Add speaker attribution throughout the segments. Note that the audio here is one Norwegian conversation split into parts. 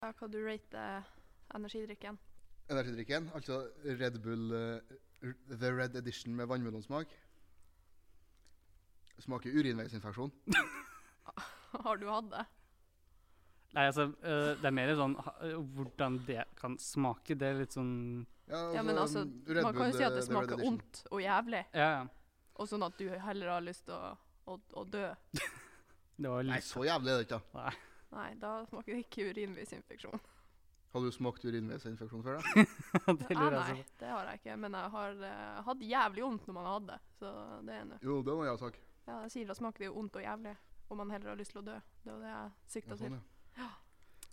Speaker 1: Ja, hva du rater energidrikken.
Speaker 2: Energidrikken, altså Red Bull eh, R- The Red Edition med vannmelonsmak. Smaker urinveisinfeksjon.
Speaker 1: Har du hatt det?
Speaker 3: Nei, altså, eh, det er mer sånn ha- eh, hvordan det kan smake. Det er litt sånn
Speaker 1: Ja, men altså,
Speaker 2: mm, Red
Speaker 1: Man kan
Speaker 2: Bull,
Speaker 1: jo si at
Speaker 2: eh,
Speaker 1: det
Speaker 2: The Red
Speaker 1: smaker
Speaker 2: Edition.
Speaker 1: ondt og jævlig,
Speaker 3: Ja, ja.
Speaker 1: og sånn at du heller har lyst til å, å, å dø.
Speaker 3: Det var
Speaker 2: Nei,
Speaker 3: litt
Speaker 2: så jævlig er det ikke, da.
Speaker 1: Nei, da smaker det ikke urinveisinfeksjon.
Speaker 2: Har du smakt urinveisinfeksjon før, da?
Speaker 3: Det
Speaker 1: Ah,
Speaker 3: lurer jeg
Speaker 1: nei,
Speaker 3: altså på.
Speaker 1: det har jeg ikke, men jeg har eh, hatt jævlig vondt når man har hatt det. Så det er nå
Speaker 2: Jo, det må jeg ha sagt.
Speaker 1: Ja, jeg sier da smaker det jo vondt og jævlig, og man heller har lyst til å dø. Det var det jeg
Speaker 2: Ja,
Speaker 1: sikta
Speaker 2: sånn,
Speaker 1: til.
Speaker 2: ja.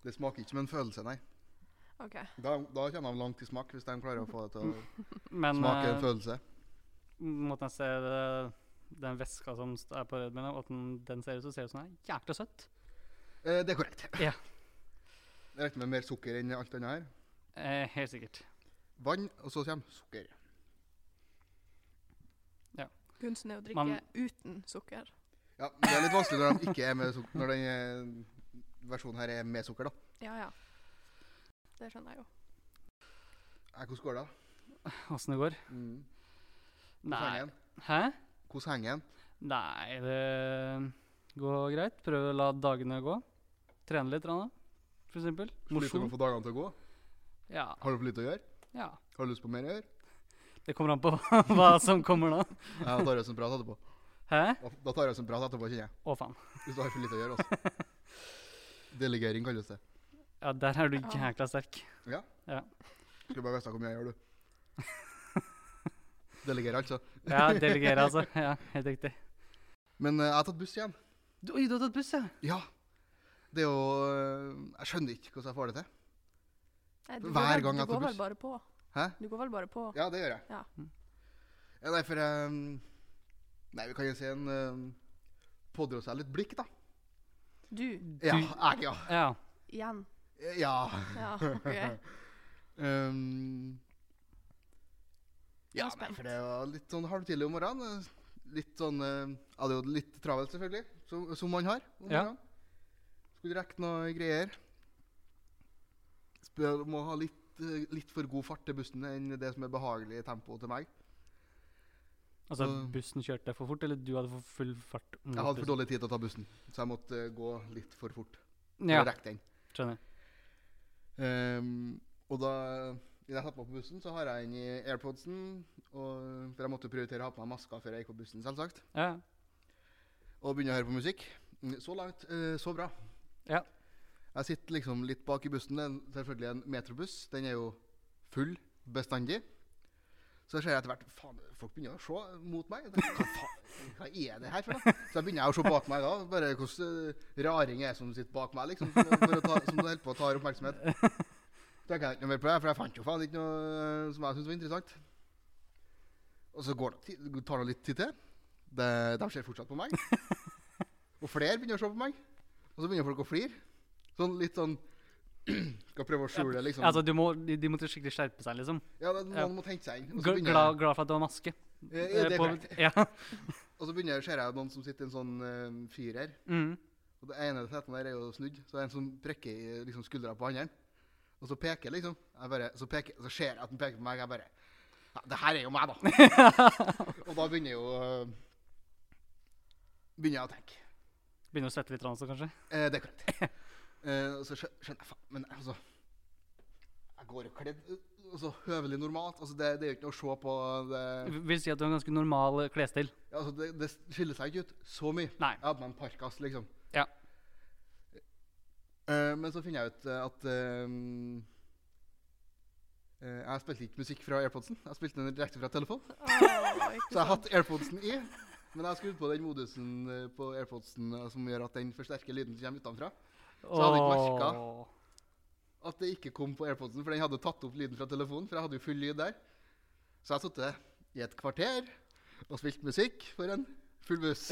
Speaker 2: Det smaker ikke som en følelse, nei.
Speaker 1: OK.
Speaker 2: Da, da kommer de langt i smak, hvis de klarer å få det til å
Speaker 3: Mm. Men
Speaker 2: smake en
Speaker 3: eh,
Speaker 2: følelse.
Speaker 3: måten jeg ser det, den veska som st- er på Red Bull, og at den, den ser ut, så ser det ut som den er jækla søtt.
Speaker 2: Eh, det er korrekt.
Speaker 3: Ja.
Speaker 2: Jeg regner med mer sukker enn alt annet her.
Speaker 3: Eh, helt sikkert.
Speaker 2: Vann, og så kommer sukker.
Speaker 1: Kunsten er å drikke
Speaker 3: Man-
Speaker 1: uten sukker.
Speaker 2: Ja, men Det er litt vanskelig når, de ikke er med suk- når den eh, versjonen her er med sukker, da.
Speaker 1: Ja, ja. Det skjønner jeg jo.
Speaker 2: Eh, Hvordan går det? da?
Speaker 3: Åssen det går.
Speaker 2: Mm. Hvordan
Speaker 3: Nei.
Speaker 2: henger den?
Speaker 3: Hæ?
Speaker 2: Hvordan henger den?
Speaker 3: Nei, det går greit. Prøv å la dagene gå. Trene litt, grann, da. for eksempel.
Speaker 2: Sliter du med å
Speaker 3: Mosjon.
Speaker 2: få dagene til å gå?
Speaker 3: Ja,
Speaker 2: Har du for lite å gjøre?
Speaker 3: ja.
Speaker 2: Har du lyst på mer å gjøre?
Speaker 3: Det kommer an på hva som kommer nå.
Speaker 2: Ja, da tar jeg oss en prat etterpå.
Speaker 3: Hæ?
Speaker 2: Da, da tar jeg oss en prat etterpå, kjenner jeg.
Speaker 3: Å, faen.
Speaker 2: Hvis du har for lite å gjøre, altså. Delegering kalles det.
Speaker 3: Ja, der er du
Speaker 1: Ja.
Speaker 3: jækla sterk.
Speaker 2: Skulle bare visst hvor mye jeg gjør, du. Delegere, altså.
Speaker 3: Ja, delegere, altså. Ja, helt riktig.
Speaker 2: Men eh, jeg har tatt buss igjen.
Speaker 3: Du, oi, du har tatt buss, ja?
Speaker 2: Ja. Det er jo eh, Jeg skjønner ikke hvordan jeg får det til.
Speaker 1: Nei, du
Speaker 2: Hver
Speaker 1: går vel-
Speaker 2: gang
Speaker 1: Du
Speaker 2: jeg tar
Speaker 1: går
Speaker 2: buss.
Speaker 1: vel bare på?
Speaker 2: Hæ?
Speaker 1: Du går vel bare på?
Speaker 2: Ja, det gjør jeg.
Speaker 1: Ja.
Speaker 3: Mm.
Speaker 2: Ja, nei, for eh, Nei, vi kan jo si en uh, Pådra seg litt blikk, da.
Speaker 1: Du,
Speaker 2: Ja.
Speaker 3: Du-
Speaker 2: Jeg, ja.
Speaker 3: Ja.
Speaker 1: igjen.
Speaker 2: ja.
Speaker 1: Ja, OK.
Speaker 2: Um,
Speaker 1: Jeg er
Speaker 2: ja, nei,
Speaker 1: spent.
Speaker 2: for det var litt sånn halvtidlig om morgenen. eh, Litt sånn eh, Jeg hadde jo litt travelt, selvfølgelig, som, som man har. om
Speaker 3: Ja.
Speaker 2: morgenen. Skulle rekke noe greier. Spør, må ha litt, eh, litt for god fart til bussen enn det som er behagelig tempo til meg.
Speaker 3: Altså,
Speaker 2: Mm.
Speaker 3: bussen kjørte for fort, eller du hadde for full fart? mot
Speaker 2: Jeg hadde for
Speaker 3: bussen?
Speaker 2: dårlig tid til å ta bussen, så jeg måtte eh, gå litt for fort.
Speaker 3: Ja,
Speaker 2: For å rekke den.
Speaker 3: skjønner.
Speaker 2: Ehm, og da da jeg satte meg på bussen, så har jeg den i airpodsen. Og, for jeg måtte prioritere å ha på meg maska før jeg gikk på bussen, selvsagt.
Speaker 3: Ja.
Speaker 2: Og begynne å høre på musikk. Mm, Så langt, eh, så bra.
Speaker 3: Ja.
Speaker 2: Jeg sitter liksom litt bak i bussen. Det er selvfølgelig en metrobuss. Den er jo full bestandig. Så ser jeg etter hvert faen, folk begynner å se mot meg. Jeg tenker, Hva faen, hva er det her for noe? Så jeg begynner å se bak meg da. Bare hvordan eh, raring jeg er som sitter bak meg, liksom. For, for å ta, som holder på å ta oppmerksomhet. Så tenker jeg ikke noe mer på det, for jeg fant jo faen ikke noe eh, som jeg syntes var interessant. Og så går det, ti- tar det litt tid til. Det, de ser fortsatt på meg. Og flere begynner å se på meg. Og så begynner folk å flire. Sånn litt sånn Skal prøve å skjule det, liksom.
Speaker 3: Altså, du må, de, de måtte skikkelig skjerpe seg, liksom.
Speaker 2: ja, det,
Speaker 3: ja.
Speaker 2: noen må tenke seg inn. Og så
Speaker 3: Gl-
Speaker 2: begynner,
Speaker 3: Glad, glad for at du har maske.
Speaker 2: Eh, er
Speaker 3: Eh,
Speaker 2: det
Speaker 3: på-
Speaker 2: korrekt?
Speaker 3: Ja.
Speaker 2: Og så begynner, ser jeg noen som sitter i en sånn eh, firer.
Speaker 3: Mm.
Speaker 2: Og det ene setet der er jo snudd, så det er en som prikker i eh, liksom, skuldra på andre. Og så peker liksom. Jeg bare, så, peker, så ser jeg at han peker på meg. Jeg bare ja, Det her er jo meg, da. og da begynner jeg jo eh, Begynner jeg å tenke.
Speaker 3: Begynner å svette litt, rann, så kanskje.
Speaker 2: Eh, det er korrekt. Eh, og så skjø- skjønner jeg faen Men altså Jeg går jo kledd eh, altså, høvelig normalt. Altså, det, det er jo ikke noe å se på. eh, Det,
Speaker 3: V- Vil si at du har en ganske normal eh, klesstil.
Speaker 2: altså, det, det skiller seg ikke ut så mye.
Speaker 3: Nei.
Speaker 2: Jeg hadde meg en parkas, liksom.
Speaker 3: Ja.
Speaker 2: Eh, men så finner jeg ut eh, at ehm, eh, Jeg spilte ikke musikk fra AirPodsen. Jeg spilte den direkte fra telefon.
Speaker 1: Åh, ikke
Speaker 2: Så jeg
Speaker 1: sant.
Speaker 2: har hatt AirPodsen i. Men jeg har skrudd på den modusen eh, på AirPodsen eh, som gjør at den forsterker lyden som kommer utenfra. Så hadde du ikke merket.
Speaker 3: Åh.
Speaker 2: At det ikke kom på AirPodsen, for den hadde tatt opp lyden fra telefonen. For jeg hadde jo full lyd der. Så jeg satt i et kvarter og spilte musikk for en full buss.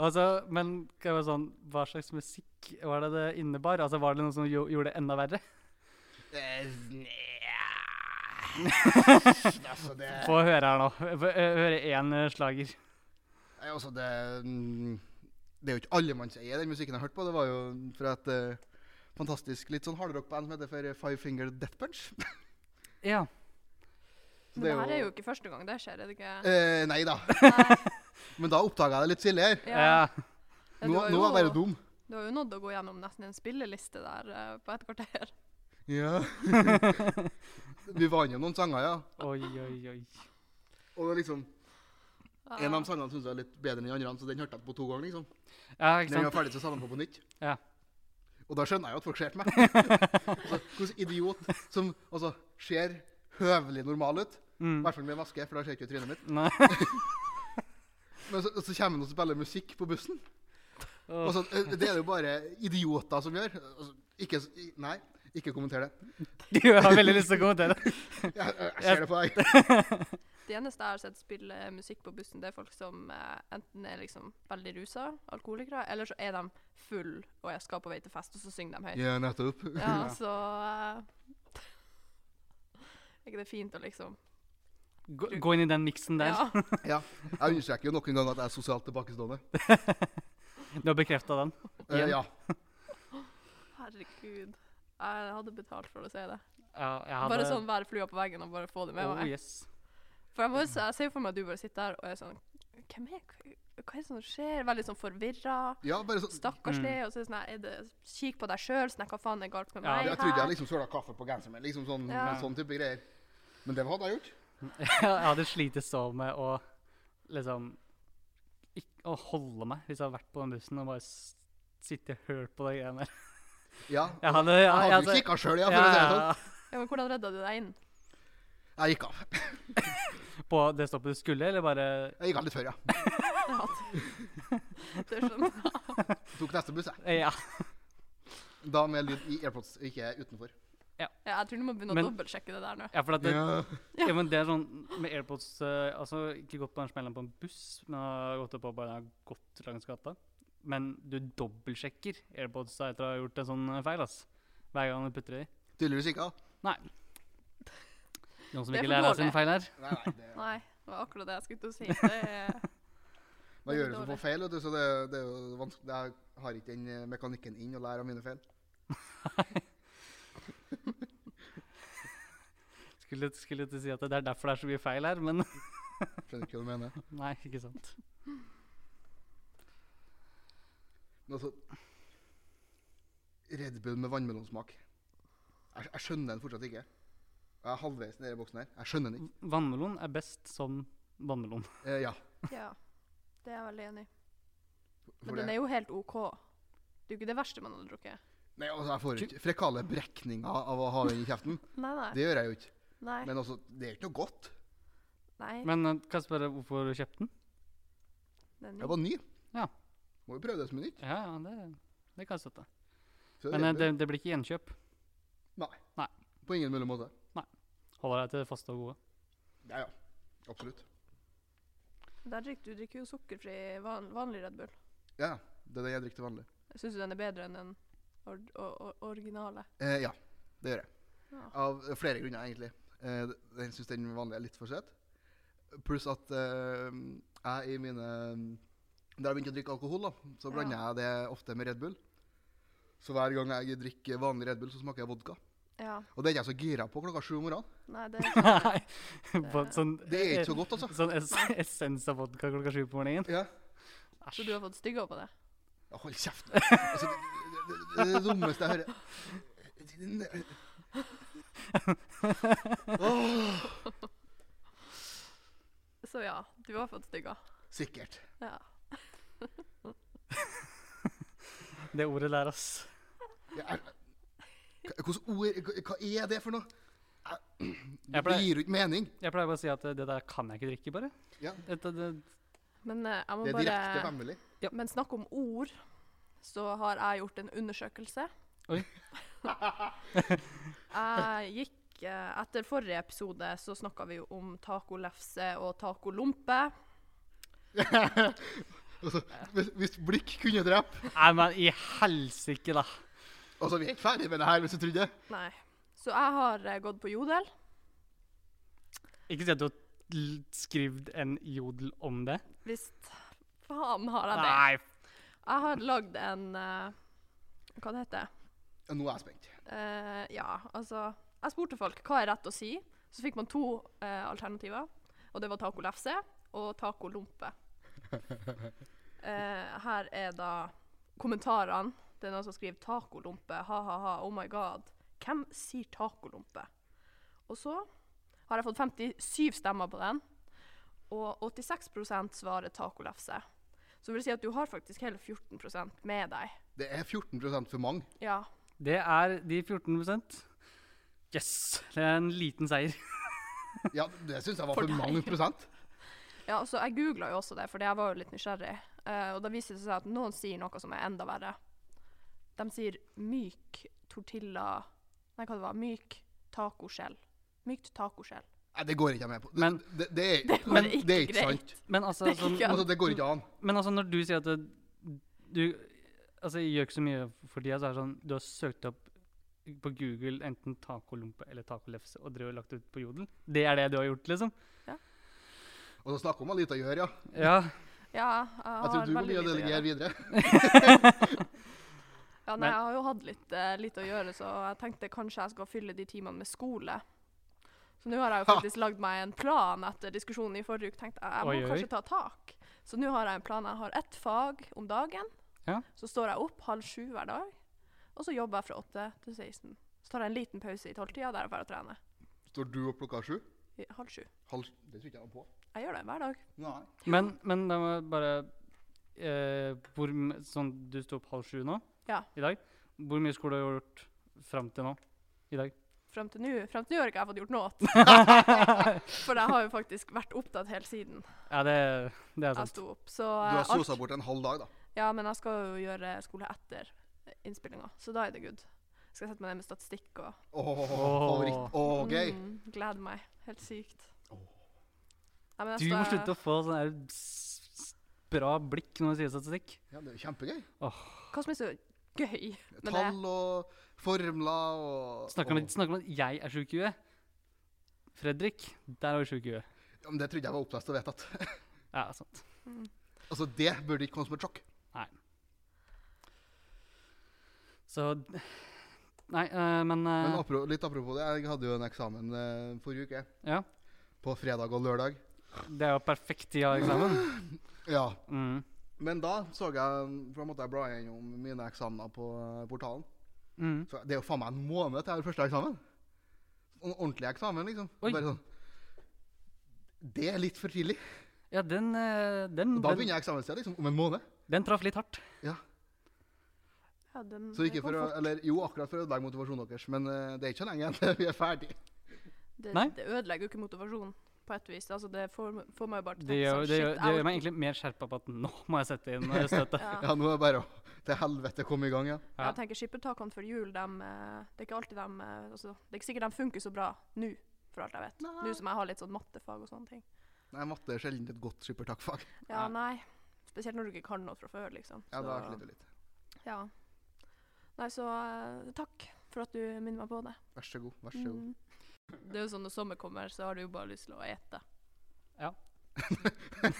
Speaker 3: Altså, men kan jeg være sånn, hva slags musikk var det det innebar? Altså, Var det noe som jo, gjorde det enda verre?
Speaker 2: Eh, nja. altså, det
Speaker 3: Få høre her nå. Få, eh, Høre én eh, slager.
Speaker 2: Nei, altså, det mm, Det er jo ikke alle man sier den musikken jeg har hørt på. Det var jo for at eh, fantastisk litt sånn hardrock-band som heter for Five Finger Death Punch.
Speaker 3: Ja.
Speaker 2: Så
Speaker 1: Men
Speaker 2: det
Speaker 1: det
Speaker 2: er
Speaker 1: her er
Speaker 2: jo-
Speaker 1: jo ikke første gang det skjer, er det ikke?
Speaker 2: Eh, nei da,
Speaker 1: Nei,
Speaker 2: men da oppdaga jeg det litt tidligere.
Speaker 1: ja. Ja,
Speaker 2: Nå,
Speaker 1: du har
Speaker 2: nå var jeg
Speaker 1: jo-
Speaker 2: bare dum.
Speaker 1: Du har jo nådd å gå gjennom nesten en spilleliste der eh, på et kvarter.
Speaker 2: Ja. Vi var innom noen sanger, ja.
Speaker 3: Oi, oi, oi.
Speaker 2: Og det er liksom,
Speaker 1: Ja.
Speaker 2: en av de sangene syns jeg er litt bedre enn den andre, så den hørte jeg på to ganger. liksom.
Speaker 3: Ja, ikke
Speaker 2: Når vi var
Speaker 3: sant?
Speaker 2: ferdig, så sa de på på nytt.
Speaker 3: Ja.
Speaker 2: Og da skjønner jeg jo at folk ser på meg. altså, Hvordan idiot som altså, ser høvelig normal ut, i
Speaker 3: Mm.
Speaker 2: hvert fall med maske, for da ser jeg ikke trynet mitt,
Speaker 3: Nei.
Speaker 2: men så, så kommer han og spiller musikk på bussen.
Speaker 3: Åh,
Speaker 2: Altså, det er det jo bare idioter som gjør. Altså, ikke, s- i- nei, ikke kommenter det.
Speaker 3: Jeg har veldig lyst til å kommentere.
Speaker 2: Jeg, jeg, jeg ser det på deg.
Speaker 1: Det eneste jeg har sett spille musikk på bussen, det er folk som eh, enten er liksom veldig rusa, alkoholikere, eller så er de full og jeg skal på vei til fest, og så synger de høyt.
Speaker 2: Ja, nettopp.
Speaker 1: Ja,
Speaker 3: Ja.
Speaker 1: så eh, Er ikke det fint å liksom
Speaker 3: Gå, gå inn i den miksen der.
Speaker 1: Ja.
Speaker 2: Ja. Jeg understreker jo nok en gang at jeg er sosialt tilbakestående.
Speaker 3: Du har bekrefta den.
Speaker 2: Eh,
Speaker 3: Igjen.
Speaker 2: ja.
Speaker 1: Herregud. Jeg hadde betalt for å se det.
Speaker 3: Ja, jeg hadde
Speaker 1: Bare sånn være flua på veggen og bare få det med
Speaker 3: oh,
Speaker 1: meg.
Speaker 3: yes.
Speaker 1: For jeg, må, jo se- jeg ser jo for meg at du bare sitter der og er sånn Hvem er Hva er det som skjer? Veldig sånn forvirra.
Speaker 2: ja, bare sånn.
Speaker 1: Stakkarslig. Og så er det sånn her, er det Kikk på deg sjøl. Sånn her, hva faen er galt med
Speaker 3: Ja,
Speaker 1: meg?
Speaker 2: Jeg trodde
Speaker 1: her?
Speaker 2: jeg liksom søla kaffe på genseren min. Liksom sånn,
Speaker 1: Ja.
Speaker 2: sånn type greier. Men det hadde jeg gjort.
Speaker 3: Jeg hadde slitt så med å liksom ikk- Å holde meg hvis jeg hadde vært på den bussen og bare s- sitte og hørt på de greiene der.
Speaker 2: Ja.
Speaker 3: Jeg hadde ja,
Speaker 2: Jeg hadde jo
Speaker 3: altså-
Speaker 2: kikka sjøl, ja.
Speaker 3: ja,
Speaker 2: For å si det
Speaker 3: ja,
Speaker 2: sånn.
Speaker 1: Ja, men hvordan redda du deg inn?
Speaker 2: Jeg gikk av.
Speaker 3: ja. På det stoppet du skulle, eller bare
Speaker 2: Jeg gikk av litt før, ja.
Speaker 1: Ja, det sånn, skjønner jeg.
Speaker 2: Tok neste buss, jeg.
Speaker 3: Ja.
Speaker 2: Da med lyd i AirPods, ikke utenfor.
Speaker 1: Ja, jeg tror du må begynne
Speaker 3: Men-
Speaker 1: å dobbeltsjekke det der nå.
Speaker 3: ja for at det, ja.
Speaker 2: Ja.
Speaker 3: men det er sånn med AirPods eh, Altså, ikke gått på den smellen på en buss, men har gått opp og bare gått langs gata. Men du dobbeltsjekker AirPods etter å ha gjort en sånn feil, ass. Hver gang du putter det i.
Speaker 2: Tydeligvis ikke. da.
Speaker 3: Noen som
Speaker 1: Det er
Speaker 3: ikke
Speaker 1: for
Speaker 3: lærer av
Speaker 1: dårlig.
Speaker 3: sine feil her.
Speaker 2: Nei, nei, det,
Speaker 1: Nei, det var akkurat det jeg skulle til å si. Det er,
Speaker 2: man gjør det som
Speaker 1: dårlig.
Speaker 2: får feil, vet du, så det, det er jo vanskelig. Jeg har ikke den eh, mekanikken inn å lære av mine feil.
Speaker 3: Skulle, skulle til å si at det er derfor det er så mye feil her, men
Speaker 2: Skjønner ikke hva du mener.
Speaker 3: nei, ikke sant.
Speaker 2: Men altså Red Bull med vannmelonsmak. Jeg, jeg skjønner den fortsatt ikke. Jeg er halvveis nedi boksen her. Jeg skjønner den ikke.
Speaker 3: Vannmelon er best som vannmelon.
Speaker 2: Eh, ja.
Speaker 1: ja, det er jeg veldig enig i.
Speaker 2: for
Speaker 1: Men den
Speaker 2: det-
Speaker 1: er jo helt OK. Det er jo ikke det verste man hadde drukket.
Speaker 2: Nei, altså, jeg får jo ikke frekale brekninger av å ha den i kjeften.
Speaker 1: Nei, nei.
Speaker 2: Det gjør jeg jo ikke.
Speaker 1: Nei.
Speaker 2: Men altså, det er jo ikke noe godt.
Speaker 1: nei.
Speaker 3: Men eh, kan jeg spørre hvorfor du kjøpte den?
Speaker 1: Den er
Speaker 2: Jeg var ny.
Speaker 3: Ja.
Speaker 2: Må jo prøve det som er nytt.
Speaker 3: Ja, ja, det, det kan jeg støtte.
Speaker 2: Så
Speaker 3: Men eh,
Speaker 2: Red
Speaker 3: det,
Speaker 2: Bull,
Speaker 3: det blir ikke gjenkjøp.
Speaker 2: På ingen mulig måte.
Speaker 3: Holder deg til det faste og gode.
Speaker 2: Ja, ja. Absolutt.
Speaker 1: ny. Der drikker du drikker jo sukkerfri van, vanlig Red Bull.
Speaker 2: Ja, Det er det jeg drikker til vanlig.
Speaker 1: Syns du den er bedre enn den or, or, or, originale?
Speaker 2: Eh, ja, det gjør jeg.
Speaker 1: Ja.
Speaker 2: Av eh, flere grunner, egentlig. Eh, d- jeg syns den vanlige er litt for søt. Pluss at eh, jeg i mine Da jeg begynte å drikke alkohol, da, så
Speaker 1: Ja.
Speaker 2: blander jeg det ofte med Red Bull. Så hver gang jeg drikker vanlig Red Bull, så smaker jeg vodka.
Speaker 1: ja.
Speaker 2: Og det er ikke jeg så gira på klokka sju om morgenen.
Speaker 1: Nei, det er
Speaker 3: Nei, på en sånn,
Speaker 2: Det er ikke så godt, altså.
Speaker 3: eh, Sånn es essens av vodka klokka sju på morgenen.
Speaker 2: Ja.
Speaker 1: Så du har fått stygge på det?
Speaker 2: Ja, Hold kjeft. Altså, det, det, det, det dummeste jeg hører Åh,
Speaker 1: Så ja, du har fått stygge.
Speaker 2: Sikkert.
Speaker 1: Ja.
Speaker 3: Det ordet der, ass.
Speaker 2: Ja, er- hva- Hvilke ord hva- Hva er det for noe? Jeg- Det
Speaker 3: Jeg pleier-
Speaker 2: gir jo ikke mening.
Speaker 3: Jeg pleier bare å si at eh, det der kan jeg ikke drikke, bare.
Speaker 2: Ja.
Speaker 3: Dette, det,
Speaker 1: Men eh, jeg må
Speaker 2: Det er
Speaker 1: bare
Speaker 2: direkte family.
Speaker 1: Men snakk om ord, så har jeg gjort en undersøkelse.
Speaker 3: Oi.
Speaker 1: jeg gikk eh, Etter forrige episode så snakka vi jo om tacolefse og tacolompe.
Speaker 2: Altså, hvis, hvis blikk kunne drepe
Speaker 3: nei, men i helsike, da.
Speaker 2: Altså, vi er ikke ferdig med det her, hvis du trodde.
Speaker 1: Nei. Så jeg har eh, gått på Jodel.
Speaker 3: Ikke si at du har l- skrevet en jodel om det.
Speaker 1: Hvis faen har jeg det.
Speaker 3: Nei,
Speaker 1: Jeg har lagd en eh, Hva det heter
Speaker 2: Nå er jeg spent.
Speaker 1: Eh, ja, altså Jeg spurte folk hva er rett å si. Så fikk man to eh, alternativer. Og det var taco lefse og taco lompe. Eh, her er da kommentarene. Det er noen som skriver taco lompe, ha-ha-ha, oh my god. Hvem sier taco lompe? Og så har jeg fått 57 stemmer på den, og 86 svarer taco lefse. Så vil si at du har faktisk hele 14 med deg.
Speaker 2: Det er 14 for mange.
Speaker 1: Ja,
Speaker 3: Det er de 14 Yes! Det er en liten seier.
Speaker 2: Ja, det syns jeg var
Speaker 1: For
Speaker 2: for, mange
Speaker 1: deg.
Speaker 2: prosent.
Speaker 1: Ja, altså, jeg googla jo også det, for jeg var jo litt nysgjerrig. Eh, og da viser det seg at noen sier noe som er enda verre. De sier myk tortilla Nei, hva det var? Myk tacoskjell. Mykt tacoskjell.
Speaker 2: Nei, det går ikke jeg med på. Det,
Speaker 3: Men-
Speaker 2: det, det, er,
Speaker 1: Det var
Speaker 2: men
Speaker 1: ikke
Speaker 2: det er ikke
Speaker 1: greit.
Speaker 2: sant.
Speaker 3: Men altså, sånn,
Speaker 1: Ja.
Speaker 2: Altså, det går ikke an.
Speaker 3: men altså når du sier at det- du altså, jeg gjør ikke så mye for tida, så er det sånn du har søkt opp på Google enten tacolompe eller tacolefse og drevet og lagt ut på Jodel. Det er det du har gjort, liksom?
Speaker 2: Og så snakker man litt å gjøre, ja.
Speaker 3: Ja.
Speaker 1: Ja, jeg har
Speaker 2: Jeg tror du kommer
Speaker 1: veldig
Speaker 2: til å
Speaker 1: lite å
Speaker 2: delegere
Speaker 1: gjøre.
Speaker 2: videre.
Speaker 1: Ja, nei,
Speaker 3: Men-
Speaker 1: jeg har jo hatt litt, eh, lite å gjøre, så jeg tenkte kanskje jeg skal fylle de timene med skole. Så nå har jeg jo
Speaker 2: Ha.
Speaker 1: faktisk lagd meg en plan etter diskusjonen i forrige uke. tenkte Jeg jeg må
Speaker 3: Oi, oi.
Speaker 1: kanskje ta tak. Så nå har jeg en plan. Jeg har ett fag om dagen.
Speaker 3: Ja.
Speaker 1: Så står jeg opp halv sju hver dag, og så jobber jeg fra åtte til 16. Så tar jeg en liten pause i tolvtida der jeg drar og trener.
Speaker 2: Står du opp klokka sju?
Speaker 1: I halv sju.
Speaker 2: Halv sju? Det tror ikke jeg var på.
Speaker 1: Jeg gjør det hver dag.
Speaker 2: Nei.
Speaker 3: Men, men da må jeg bare eh, hvor, m- Sånn, du sto opp halv sju nå
Speaker 1: Ja.
Speaker 3: i dag. Hvor mye skole har du gjort fram til nå i dag?
Speaker 1: Frem til nå frem til nå har ikke jeg fått gjort noe. For jeg har jo faktisk vært opptatt helt siden
Speaker 3: Ja, det, det er
Speaker 1: jeg
Speaker 3: sant.
Speaker 1: sto opp. Så
Speaker 2: Du har
Speaker 1: eh, alt-
Speaker 2: sosa bort en halv dag, da.
Speaker 1: Ja, men jeg skal jo gjøre skole etter innspillinga, så da er det good. Skal jeg sette meg ned med statistikk og
Speaker 2: Åh,
Speaker 3: Åh.
Speaker 2: favoritt. Åh, gøy.
Speaker 1: mm, gleder meg. Helt sykt.
Speaker 2: Åh.
Speaker 1: Nei, men jeg
Speaker 3: Du må
Speaker 1: skal-
Speaker 3: slutte å få sånn der s- s- bra blikk når du sier statistikk.
Speaker 2: Ja, det er jo kjempegøy.
Speaker 1: Hva som er så gøy? Men det-
Speaker 2: Tall og formler og
Speaker 3: Snakker om,
Speaker 2: og-
Speaker 3: snakker om at jeg er sjuk i huet. Fredrik, der er du sjuk i huet.
Speaker 2: Ja, men Det trodde jeg var opplest og vedtatt.
Speaker 3: Ja, sant.
Speaker 2: Altså, det burde ikke komme som et sjokk.
Speaker 3: Så Nei, eh, men, eh,
Speaker 2: Men apro litt apropos det, jeg hadde jo en eksamen eh, forrige uke.
Speaker 3: Ja,
Speaker 2: På fredag og lørdag.
Speaker 3: det er jo perfekt tid av eksamen.
Speaker 2: Ja.
Speaker 3: Mm.
Speaker 2: Men da så jeg For da måtte jeg bla gjennom mine eksamener på eh, portalen.
Speaker 3: Mm.
Speaker 2: Så det er jo faen meg en måned til jeg har første eksamen. En ordentlig eksamen, liksom.
Speaker 3: Oi.
Speaker 2: Bare sånn Det er litt for tidlig.
Speaker 3: Ja, den, eh, den,
Speaker 2: Og da
Speaker 3: den,
Speaker 2: begynner eksamenstida liksom om en måned.
Speaker 3: den traff litt hardt.
Speaker 1: ja, den,
Speaker 2: Så
Speaker 1: den
Speaker 2: ikke
Speaker 1: kom
Speaker 2: for å
Speaker 1: fort.
Speaker 2: Eller jo, akkurat for å ødelegge motivasjonen deres, men eh, det er ikke så lenge igjen til vi er ferdig.
Speaker 1: det,
Speaker 3: Nei.
Speaker 1: det ødelegger jo ikke motivasjonen på et vis. Altså, det får, får meg jo bare til å
Speaker 3: Det
Speaker 1: tenke
Speaker 3: gjør,
Speaker 1: sånn,
Speaker 3: det,
Speaker 1: shit,
Speaker 3: gjør,
Speaker 1: jeg
Speaker 3: det
Speaker 1: orker
Speaker 3: gjør meg egentlig mer skjerpa på at nå må jeg sette inn eh, støtet.
Speaker 1: Ja.
Speaker 2: Ja, nå er det bare å til helvete komme i gang, ja.
Speaker 3: Ja.
Speaker 1: Jeg tenker skippertakene før jul, dem, eh, det er ikke alltid dem, eh, altså, Det er ikke sikkert de funker så bra nå, for alt jeg vet. Nå som jeg har litt sånn mattefag og sånne ting.
Speaker 2: Nei, matte er sjelden et godt skippertakfag.
Speaker 1: Ja,
Speaker 3: Ja.
Speaker 1: nei. Spesielt når du ikke kan noe fra før, liksom.
Speaker 2: Ja, da
Speaker 1: Så-
Speaker 2: sliter vi litt.
Speaker 1: Ja. Nei, så eh, takk for at du minner meg på det. Mm.
Speaker 2: Vær så god. Vær så god.
Speaker 1: Det er jo sånn når sommer kommer, så har du jo bare lyst til å ete.
Speaker 3: Ja.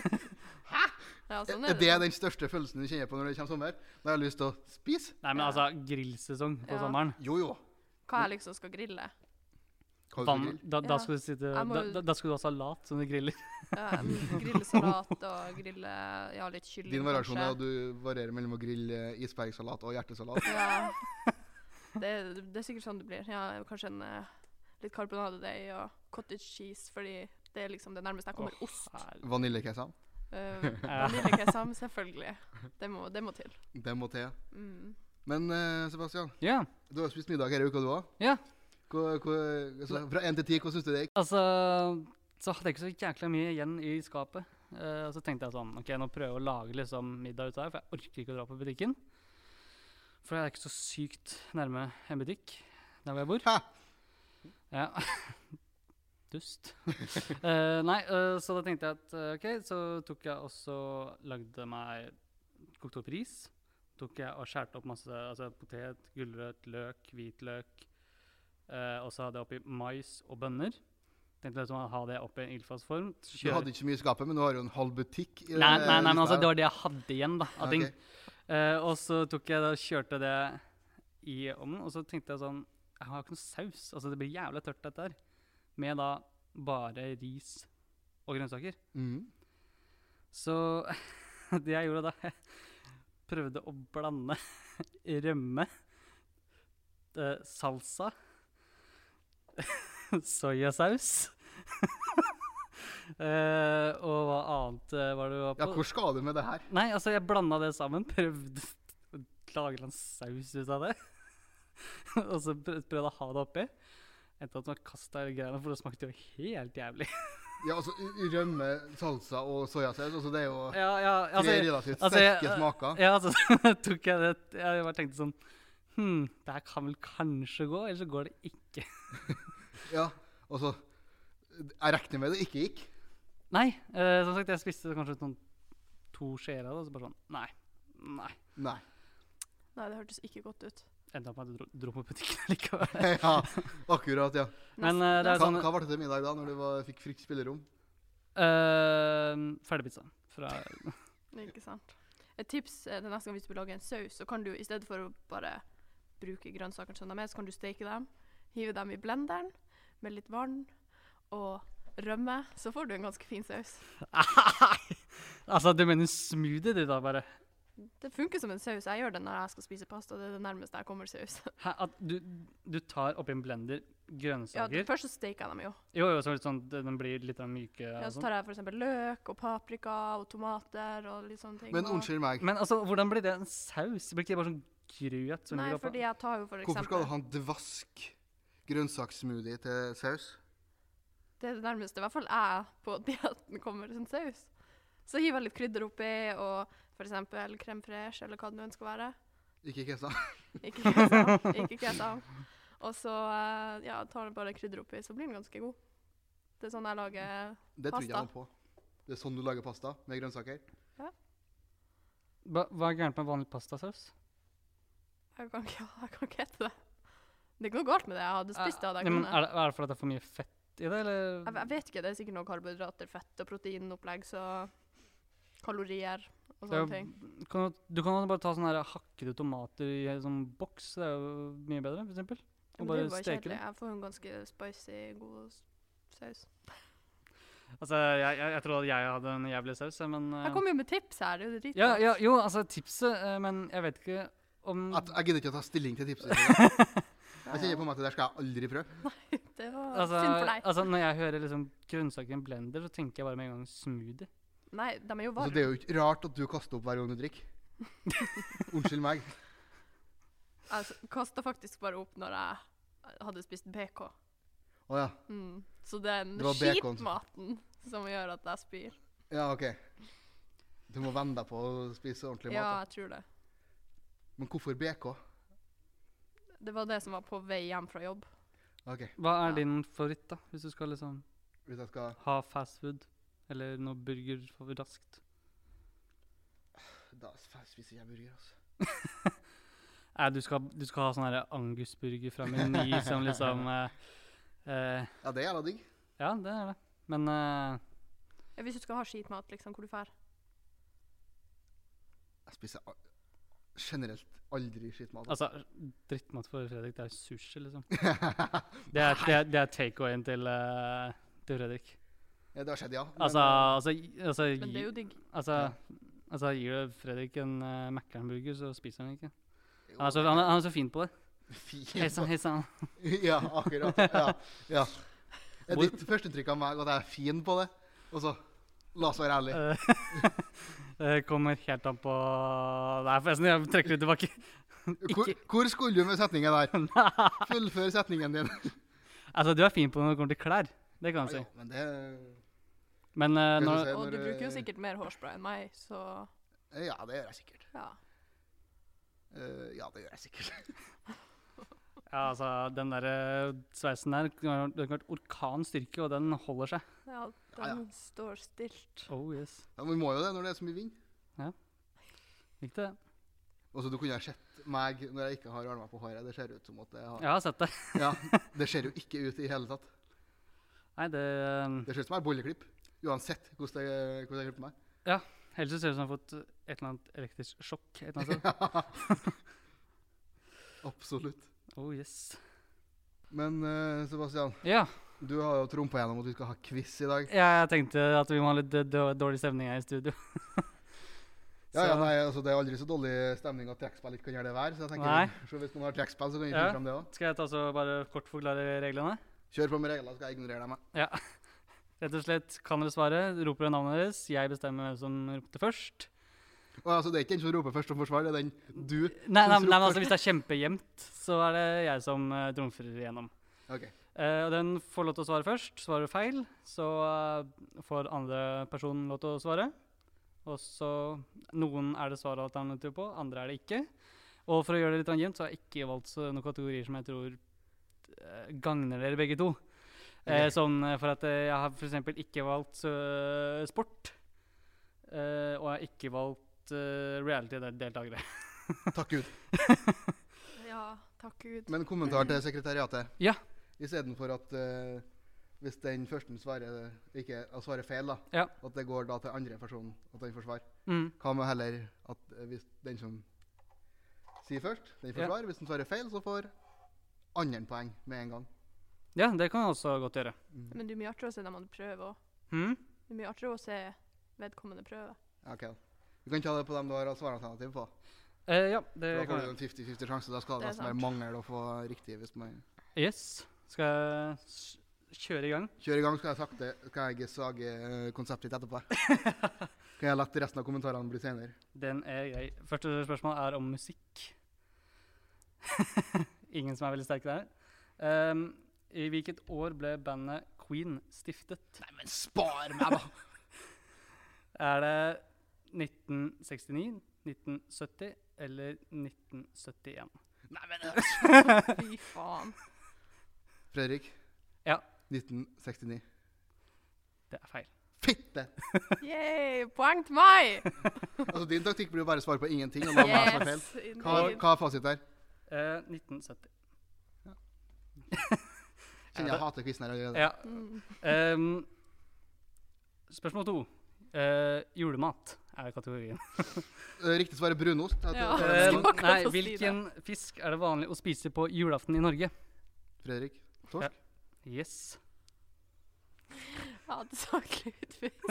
Speaker 1: Hæ?! Ja, sånn
Speaker 2: Er
Speaker 1: er
Speaker 2: det
Speaker 1: det.
Speaker 2: den største følelsen du kjenner på når det kommer sommer? Da har jeg lyst til å spise.
Speaker 3: Nei, men altså, grillsesong på
Speaker 1: Ja.
Speaker 3: sommeren.
Speaker 2: Jo, jo.
Speaker 1: Hva jeg liksom skal grille.
Speaker 2: Hva vil du
Speaker 3: Vann,
Speaker 2: grille?
Speaker 3: da, da,
Speaker 1: Ja.
Speaker 3: skal du sitte,
Speaker 1: Jeg må
Speaker 3: da,
Speaker 1: jo-
Speaker 3: da, da skal du ha salat som du griller.
Speaker 1: Ja, mm, grille salat og grille ja, litt kylling.
Speaker 2: Din variasjon er
Speaker 1: kanskje.
Speaker 2: at du varierer mellom å grille isbergsalat og hjertesalat.
Speaker 1: Ja. Det, det er sikkert sånn det blir. Ja, kanskje en eh, litt karbonadedeig og cottage cheese, fordi det er liksom det nærmeste jeg kommer
Speaker 3: Åh,
Speaker 1: ost.
Speaker 3: herlig.
Speaker 2: Vaniljekesam.
Speaker 1: Uh,
Speaker 3: Ja.
Speaker 1: Vaniljekesam, selvfølgelig. Det må, det må til.
Speaker 2: Det må til.
Speaker 1: Mm.
Speaker 2: Men eh, Sebastian,
Speaker 3: Ja.
Speaker 2: du har jo spist middag denne uka, du òg.
Speaker 3: Ja.
Speaker 2: Altså, fra én til ti, hva syns du det gikk?
Speaker 3: Altså, så hadde jeg ikke så jækla mye igjen i skapet. Eh, og så tenkte jeg sånn, ok, nå prøver jeg å lage liksom middag ut av det, for jeg orker ikke å dra på butikken. For jeg er ikke så sykt nærme en butikk der hvor jeg bor.
Speaker 2: Hæ?
Speaker 3: Ja. Dust. Eh, nei, eh, så da tenkte jeg at eh, ok, så tok jeg også lagde meg kokt opp ris. Tok jeg og skjærte opp masse altså potet, gulrøtt, løk, hvitløk. Eh, og så hadde jeg oppi mais og bønner. Tenkte liksom å ha det oppi en ildfast form.
Speaker 2: Du hadde ikke så mye i skapet, men du har jo en halv butikk. I
Speaker 3: Nei,
Speaker 2: den, eh,
Speaker 3: nei, nei, men
Speaker 2: lista
Speaker 3: altså,
Speaker 2: her.
Speaker 3: det var det jeg hadde igjen da, av ting.
Speaker 2: Ok.
Speaker 3: Eh, og så tok jeg da, kjørte det i ovnen. Og så tenkte jeg sånn Jeg har ikke noe saus. Altså, det blir jævla tørt, dette her. Med da bare ris og grønnsaker.
Speaker 2: Mhm.
Speaker 3: Så det jeg gjorde da Jeg prøvde å blande rømme, eh, salsa, soyasaus eh, Og hva annet eh, var det du var
Speaker 2: Ja,
Speaker 3: på?
Speaker 2: hvor skal du med det her?
Speaker 3: Nei, altså, jeg blanda det sammen. Prøvde å lage en saus ut av det. og så prø- prøvde jeg å ha det oppi. Endte opp med å kaste hele greiene, for det smakte jo helt jævlig.
Speaker 2: Ja, altså, i- rømme, salsa og soyasaus. Altså, det er jo
Speaker 3: ja, ja, altså,
Speaker 2: tre relativt
Speaker 3: altså, jeg-
Speaker 2: sterke smaker.
Speaker 3: Ja, altså, så tok jeg det Jeg bare tenkte sånn Hm, det her kan vel kanskje gå, eller så går det ikke.
Speaker 2: Ja, og så Jeg regner med det ikke gikk.
Speaker 3: Nei, eh, som sagt, jeg spiste kanskje sånn to skjeer av det, og så bare sånn Nei. Nei.
Speaker 2: Nei.
Speaker 1: Nei, det hørtes ikke godt ut.
Speaker 3: Enda opp med at jeg dro, dro på butikken likevel.
Speaker 2: ja, akkurat, ja.
Speaker 3: Men eh,
Speaker 2: Hva,
Speaker 3: det er sånn
Speaker 2: hva var det til middag da, når du var, fikk fritt spillerom?
Speaker 3: uh, Ferdigpizza. Fra eh,
Speaker 1: Ikke sant. Et tips er det neste gang hvis du vil lage en saus, så kan du i stedet for å bare bruke grønnsakene som de er, så kan du steke dem, hive dem i blenderen med litt vann og rømme, så får du en ganske fin saus.
Speaker 3: Altså, du mener smoothie, du, da, bare?
Speaker 1: Det funker som en saus. Jeg gjør det når jeg skal spise pasta. Det er det nærmeste jeg kommer saus.
Speaker 3: Hæ, at du, du tar oppi en blender
Speaker 1: Ja,
Speaker 3: grønnsaker
Speaker 1: først så steker jeg dem jo.
Speaker 3: Jo, jo, så litt sånn, den blir litt av myke og
Speaker 1: Ja, så
Speaker 3: sånn.
Speaker 1: tar jeg for eksempel løk og paprika og tomater og litt sånne ting.
Speaker 2: Men
Speaker 1: og-
Speaker 2: unnskyld meg,
Speaker 3: Men altså, hvordan blir det en saus? Blir ikke det bare sånn grøt? som
Speaker 1: Nei,
Speaker 3: ligger oppå?
Speaker 1: fordi jeg tar jo for eksempel
Speaker 2: hvorfor skal du ha en dvask grønnsakssmoothie til saus?
Speaker 1: Det er det nærmeste, i hvert fall jeg, på dietten kommer til en saus. Så hiver jeg litt krydder oppi, og f.eks. crème fraîche, eller hva det nå ønsker å være.
Speaker 2: Ikke kesa?
Speaker 1: Ikke kesa. Ikke kesa. Og så eh, ja, tar jeg bare krydder oppi, så blir den ganske god. Det er sånn jeg lager
Speaker 2: Det tror jeg
Speaker 1: Pasta.
Speaker 2: noe på. Det er sånn du lager pasta med grønnsaker?
Speaker 3: Hva, hva er gærent med vanlig pastasaus?
Speaker 1: Jeg kan ikke, jeg kan ikke hete det. Det er ikke noe galt med det. Jeg hadde spist det. hadde
Speaker 3: Ja,
Speaker 1: jeg
Speaker 3: men
Speaker 1: kunnet.
Speaker 3: er, det, er det fordi det er for mye fett i det, eller?
Speaker 1: Jeg, jeg vet ikke, det er sikkert noe karbohydrater, fett og proteinopplegg, så kalorier og
Speaker 3: Det er
Speaker 1: sånne
Speaker 3: jo-
Speaker 1: ting.
Speaker 3: kan jo- du kan jo bare ta sånne her hakkede tomater i en sånn boks. Det er jo mye bedre, for eksempel.
Speaker 1: Men det
Speaker 3: Og bare
Speaker 1: er jo bare
Speaker 3: steke
Speaker 1: kjedelig.
Speaker 3: det.
Speaker 1: Jeg får en ganske spicy, god s- saus.
Speaker 3: Altså, jeg, jeg, jeg trodde jeg hadde en jævlig saus, jeg, men eh,
Speaker 1: Jeg kom jo med tips her. Det er jo dritbra.
Speaker 3: ja, ja, Jo, altså, tipset, eh, men jeg vet ikke om
Speaker 2: At jeg gidder ikke å ta stilling til tipset. Jeg kjenner på meg at det der skal jeg aldri prøve.
Speaker 1: Det var
Speaker 3: altså,
Speaker 1: synd for deg.
Speaker 3: altså, når jeg hører liksom grønnsaker i en blender, så tenker jeg bare med en gang smoothie.
Speaker 1: Nei, de er jo
Speaker 2: Altså,
Speaker 1: varme.
Speaker 2: det er jo ikke rart at du kaster opp hver gang du drikker. Unnskyld meg.
Speaker 1: Jeg s- kasta Altså, faktisk bare opp når jeg hadde spist BK.
Speaker 2: Å ja.
Speaker 1: Mm. Så det er
Speaker 2: Det var
Speaker 1: den
Speaker 2: bacon.
Speaker 1: skitmaten som gjør at jeg spyr.
Speaker 2: Ja, OK. Du må venne deg på å spise ordentlig
Speaker 1: Ja,
Speaker 2: mat.
Speaker 1: jeg tror det.
Speaker 2: da. Men hvorfor BK?
Speaker 1: Det var det som var på vei hjem fra jobb.
Speaker 2: OK,
Speaker 3: Hva er
Speaker 1: Ja.
Speaker 3: din favoritt, da? Hvis du skal liksom
Speaker 2: hvis jeg skal
Speaker 3: ha fast food eller noe burger for raskt?
Speaker 2: Da spiser jeg burger, altså.
Speaker 3: Nei, du skal, du skal ha sånn her angusburger fra Meny som liksom eh, eh,
Speaker 2: Ja, det er jævla digg.
Speaker 3: Ja, det er det. Men eh,
Speaker 1: Ja, hvis du skal ha skitmat, liksom, hvor du drar.
Speaker 2: Jeg spiser al- generelt aldri skittmat.
Speaker 3: altså, drittmat for Fredrik, det er sushi, liksom. Det er, det er, det er takeawayen til, eh, til Fredrik.
Speaker 2: Ja, det har skjedd, ja. Men,
Speaker 3: Altså,
Speaker 2: eh,
Speaker 3: altså, gi- altså,
Speaker 1: Men det er
Speaker 3: gi-
Speaker 1: jo digg.
Speaker 3: altså,
Speaker 2: Ja.
Speaker 3: altså Gir du Fredrik en uh, Mækkern-burger, så spiser han ikke.
Speaker 2: eh, jo,
Speaker 3: Han er, så, han, er, han er så fin på det.
Speaker 2: fint.
Speaker 3: altså, Hei sann, hei sann.
Speaker 2: ja, akkurat. Ja, ja. Er
Speaker 3: Hvor-
Speaker 2: Ditt førsteinntrykk av meg at jeg er fin på det. Og så La oss være ærlige.
Speaker 3: Eh, Det kommer helt an på Nei, forresten, jeg trekker det tilbake.
Speaker 2: Hvor, hvor skulle du med setningen der?
Speaker 3: Eh, Nei.
Speaker 2: Fullfør setningen din.
Speaker 3: Altså, du er fin på det når det kommer til klær. Det kan
Speaker 2: Ja,
Speaker 3: jeg si.
Speaker 2: men det
Speaker 3: Men
Speaker 2: Skal
Speaker 3: eh,
Speaker 2: du
Speaker 3: når,
Speaker 2: si-
Speaker 1: Og
Speaker 2: når
Speaker 1: du
Speaker 2: du-
Speaker 1: bruker jo sikkert mer hårspray enn meg, så
Speaker 2: eh, Ja, det gjør jeg sikkert.
Speaker 1: ja.
Speaker 2: Eh, ja, det gjør jeg sikkert.
Speaker 3: ja, altså, den der eh, sveisen der, det har det har vært orkanstyrke, og den holder seg.
Speaker 1: ja den
Speaker 2: Ja, ja.
Speaker 1: står stilt.
Speaker 3: Oh yes.
Speaker 2: Ja, men vi må jo det når det er så mye vind.
Speaker 3: Gikk det?
Speaker 2: Og så Du kunne ha sett meg når jeg ikke har armer på håret. Det ser ut som at jeg har
Speaker 3: Jeg har sett det.
Speaker 2: Ja, Det ser jo ikke ut i hele tatt.
Speaker 3: Nei, det eh,
Speaker 2: Det ser ut som jeg har bolleklipp. Uansett hvordan det, hvordan det klipper meg.
Speaker 3: Ellers så ser det ut som jeg har fått et eller annet elektrisk sjokk. et eller annet sted.
Speaker 2: Absolutt.
Speaker 3: Oh yes.
Speaker 2: Men eh, Sebastian,
Speaker 3: Ja,
Speaker 2: du har jo trumpa gjennom at vi skal ha quiz i dag.
Speaker 3: jeg tenkte at vi må ha litt eh, dår- dårlig stemning her i studio.
Speaker 2: Ja, ja,
Speaker 3: Så-
Speaker 2: nei, altså Det er aldri så dårlig stemning at trekkspill ikke kan gjøre det hver. Så jeg tenker,
Speaker 3: Nei.
Speaker 2: så hvis noen har trekkspill, så kan vi
Speaker 3: Ja.
Speaker 2: finne frem det òg.
Speaker 3: Skal jeg ta så bare kort forklare reglene?
Speaker 2: Kjør på med reglene, så skal jeg ignorere dem. jeg.
Speaker 3: Rett og slett, kan dere svare? Roper dere navnet deres? Jeg bestemmer hvem som ropte først.
Speaker 2: Og altså, Det er ikke den som roper først om forsvar, det er den du
Speaker 3: Nei, nei,
Speaker 2: Som
Speaker 3: nei men
Speaker 2: roper.
Speaker 3: altså, hvis det er kjempejevnt, så er det jeg som uh, trumfer igjennom.
Speaker 2: Ok.
Speaker 3: Eh, og den får lov til å svare først. Svarer du feil, så eh, får andre person lov til å svare. Og så Noen er det svaralternativ på, andre er det ikke. Og for å gjøre det litt jevnt, så har jeg ikke valgt så noen kategorier som jeg tror eh, gagner dere begge to. Eh,
Speaker 2: Ok.
Speaker 3: sånn eh, for at eh, jeg har f.eks. ikke valgt eh, sport. eh, og jeg har ikke valgt eh, reality-deltakere.
Speaker 2: Takk Gud.
Speaker 1: Ja, takk Gud.
Speaker 2: Men kommentar til sekretariatet.
Speaker 3: Ja.
Speaker 2: Istedenfor at eh, hvis den første svarer, ikke, altså svarer feil, da,
Speaker 3: Ja.
Speaker 2: at det går da til andre person at den får svar.
Speaker 3: Mm.
Speaker 2: Hva med heller at eh, hvis den som sier først, den får
Speaker 3: Ja.
Speaker 2: svar. Hvis den svarer feil, så får andre poeng med en gang.
Speaker 3: Ja, det kan jeg også godt gjøre.
Speaker 1: Men det er mye artigere å se dem andre prøve òg.
Speaker 3: Hmm?
Speaker 1: Det er mye artigere å se vedkommende prøve.
Speaker 2: Ja, Ok, da. Du kan ta det på dem du har svaralternativ på.
Speaker 3: Eh, ja, det
Speaker 2: Da
Speaker 3: kan
Speaker 2: får
Speaker 3: jeg
Speaker 2: du
Speaker 3: gjøre.
Speaker 2: en 50-50 sjanse. Da skal
Speaker 1: Det
Speaker 2: det
Speaker 1: er
Speaker 2: nesten
Speaker 1: sant.
Speaker 2: være mangel å få riktig. hvis man...
Speaker 3: Yes. Skal jeg s- kjøre i gang?
Speaker 2: Kjør i gang, skal jeg sakte Skal jeg sage eh, konseptet ditt etterpå. kan jeg la resten av kommentarene bli senere.
Speaker 3: Den er grei. Første spørsmål er om musikk. Ingen som er veldig sterke der. Ehm, I hvilket år ble bandet Queen stiftet?
Speaker 2: Nei, men spar meg, da!
Speaker 3: Er det 1969, 1970 eller 1971?
Speaker 2: Nei, men...
Speaker 1: Fy faen.
Speaker 2: Fredrik.
Speaker 3: Ja.
Speaker 2: 1969.
Speaker 3: Det er feil.
Speaker 2: Fitte!
Speaker 1: Yay, poeng til meg!
Speaker 2: Altså, din taktikk blir jo bare å svare på ingenting. og la meg svare feil.
Speaker 1: Yes,
Speaker 2: Hva,
Speaker 1: indeed.
Speaker 2: hva er fasit der?
Speaker 3: Eh, 1970.
Speaker 2: Kjenner jeg hater quizen her allerede.
Speaker 3: Ja.
Speaker 1: Mm.
Speaker 3: Ehm, spørsmål to. Eh, julemat er kategorien.
Speaker 2: Eh, Riktig svar er brunost. Jeg
Speaker 1: Ja.
Speaker 2: tror det er en
Speaker 3: Eh,
Speaker 2: gang.
Speaker 1: Skal akkurat
Speaker 3: nei,
Speaker 1: å si det.
Speaker 3: hvilken fisk er det vanlig å spise på julaften i Norge?
Speaker 2: Fredrik. Torsk.
Speaker 3: Yes.
Speaker 1: Jeg hadde sagt lutfisk.